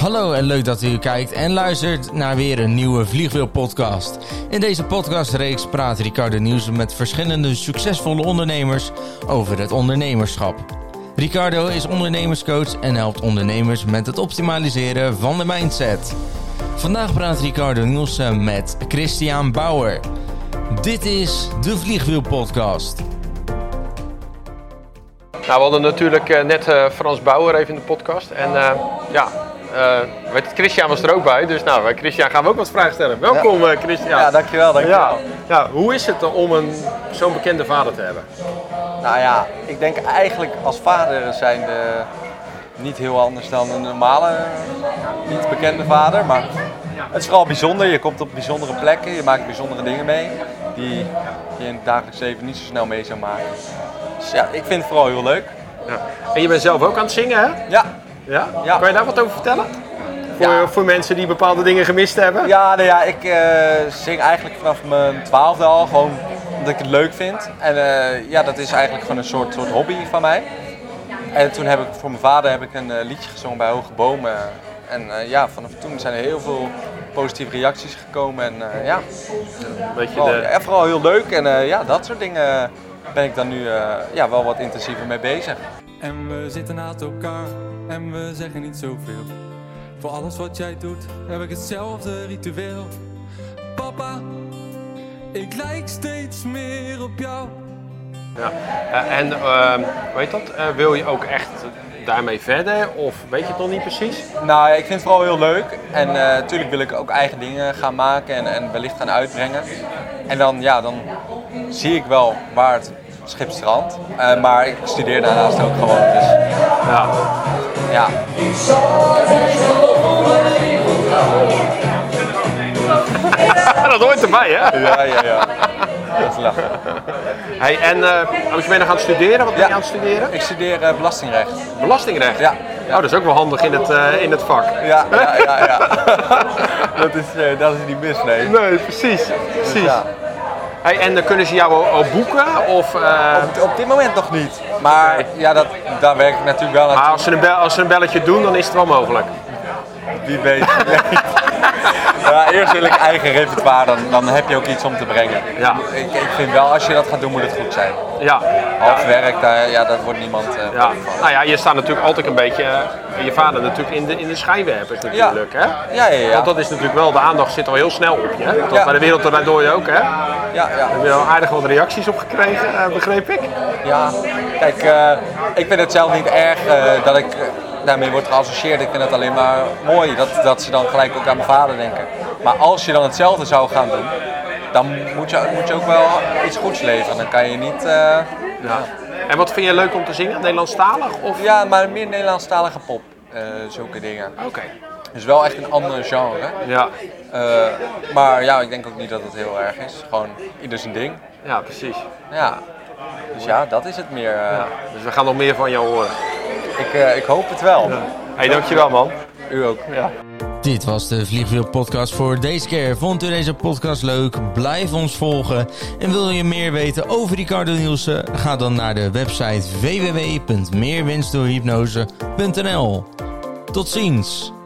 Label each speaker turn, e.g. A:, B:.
A: Hallo en leuk dat u kijkt en luistert naar weer een nieuwe Vliegwiel-podcast. In deze podcastreeks praat Ricardo Nieuwsen met verschillende succesvolle ondernemers over het ondernemerschap. Ricardo is ondernemerscoach en helpt ondernemers met het optimaliseren van de mindset. Vandaag praat Ricardo Nielsen met Christian Bauer. Dit is de Vliegwiel-podcast.
B: Nou, we hadden natuurlijk eh, net eh, Frans Bauer even in de podcast. En eh, ja, eh, weet het, Christian was er ook bij. Dus nou, eh, Christian gaan we ook wat vragen stellen. Welkom eh, Christian.
C: Ja, dankjewel,
B: Ja.
C: dankjewel.
B: Ja, hoe is het dan om een, zo'n bekende vader te hebben?
C: Nou ja, ik denk eigenlijk als vader zijn we niet heel anders dan een normale, niet bekende vader. Maar het is vooral bijzonder. Je komt op bijzondere plekken, je maakt bijzondere dingen mee die je in het dagelijks leven niet zo snel mee zou maken. Dus ja, ik vind het vooral heel leuk.
B: Ja. En je bent zelf ook aan het zingen, hè?
C: Ja,
B: Ja?
C: Ja.
B: Kan je daar wat over vertellen? Voor,
C: Ja.
B: voor mensen die bepaalde dingen gemist hebben?
C: ja, nou ja ik eh, zing eigenlijk vanaf mijn twaalfde al gewoon omdat ik het leuk vind. En eh, ja, dat is eigenlijk gewoon een soort, soort hobby van mij. En toen heb ik voor mijn vader heb ik een eh, liedje gezongen bij Hoge Bomen. En eh, ja, vanaf toen zijn er heel veel positieve reacties gekomen. En eh, ja,
B: Een beetje
C: vooral,
B: de...
C: en vooral heel leuk. En eh, ja, dat soort dingen ben ik dan nu eh, ja, wel wat intensiever mee bezig.
D: En we zitten naast elkaar en we zeggen niet zoveel. Voor alles wat jij doet heb ik hetzelfde ritueel. Papa, ik lijk steeds meer op jou.
B: Ja. Eh, en weet dat, eh, wil je ook echt daarmee verder? Of weet je het nog niet precies?
C: Nou, ja, ik vind het vooral heel leuk. En eh, natuurlijk wil ik ook eigen dingen gaan maken en, en wellicht gaan uitbrengen. En dan, ja, dan zie ik wel waar het schip strandt. Eh, maar ik studeer daarnaast ook gewoon. Dus
B: Ja.
C: ja,
B: dat hoort erbij, hè?
C: ja, ja. ja. Dat is lachen.
B: Hey, en eh, als je mee naar gaat studeren, wat ben je
C: Ja.
B: aan het studeren?
C: Ik studeer eh, belastingrecht.
B: Belastingrecht.
C: Ja.
B: Oh, dat is ook wel handig in het, eh, in het vak.
C: Ja, ja, ja. ja. dat, is, eh, dat is niet mis, nee.
B: Nee, precies. precies.
C: Ja.
B: Hey, en dan kunnen ze jou al, al boeken? Of, eh,
C: Op, op dit moment nog niet. Maar ja, dat, daar werk ik natuurlijk wel
B: maar
C: naartoe.
B: als ze, een bel, als ze een belletje doen, dan is het wel mogelijk.
C: Wie weet. ja, eerst wil ik eigen repertoire, dan, dan heb je ook iets om te brengen.
B: Ja.
C: Ik, ik vind wel, als je dat gaat doen, moet het goed zijn.
B: Ja.
C: Half werk, daar, ja, dat wordt niemand. eh,
B: ja. Nou ja, je staat natuurlijk altijd een beetje, eh, je vader natuurlijk, in de, in de schijnwerpers natuurlijk. Hè?
C: Ja, ja, ja.
B: Want dat is natuurlijk wel, de aandacht zit al heel snel op je. hè? Tot
C: Ja.
B: bij de wereld eruit door je ook, hè? Daar
C: ja, ja.
B: heb je al aardig wat reacties op gekregen, eh, begreep ik.
C: ja. Kijk, eh, ik vind het zelf niet erg eh, dat ik eh, daarmee word geassocieerd. Ik vind het alleen maar mooi dat, dat ze dan gelijk ook aan mijn vader denken. Maar als je dan hetzelfde zou gaan doen, dan moet je, moet je ook wel iets goeds leveren. Dan kan je niet. eh,
B: Ja. En wat vind je leuk om te zingen? Nederlandstalig? Of...
C: ja, maar meer Nederlandstalige pop. eh, zulke dingen.
B: Oké.
C: Dus wel echt een ander genre.
B: Ja.
C: Eh, maar ja, ik denk ook niet dat het heel erg is. Gewoon ieder zijn ding.
B: ja, precies.
C: Ja. Dus ja, dat is het meer. eh.
B: Ja. Dus we gaan nog meer van jou horen.
C: ik, eh, ik hoop het wel.
B: hey, dankjewel man.
C: U ook.
A: Dit was de Vliegwiel Podcast voor deze keer. Vond u deze podcast leuk? Blijf ons volgen. En wil je meer weten over Ricardo Nielsen? Ga dan naar de website www.meerwinstdoorhypnose.nl. Tot ziens!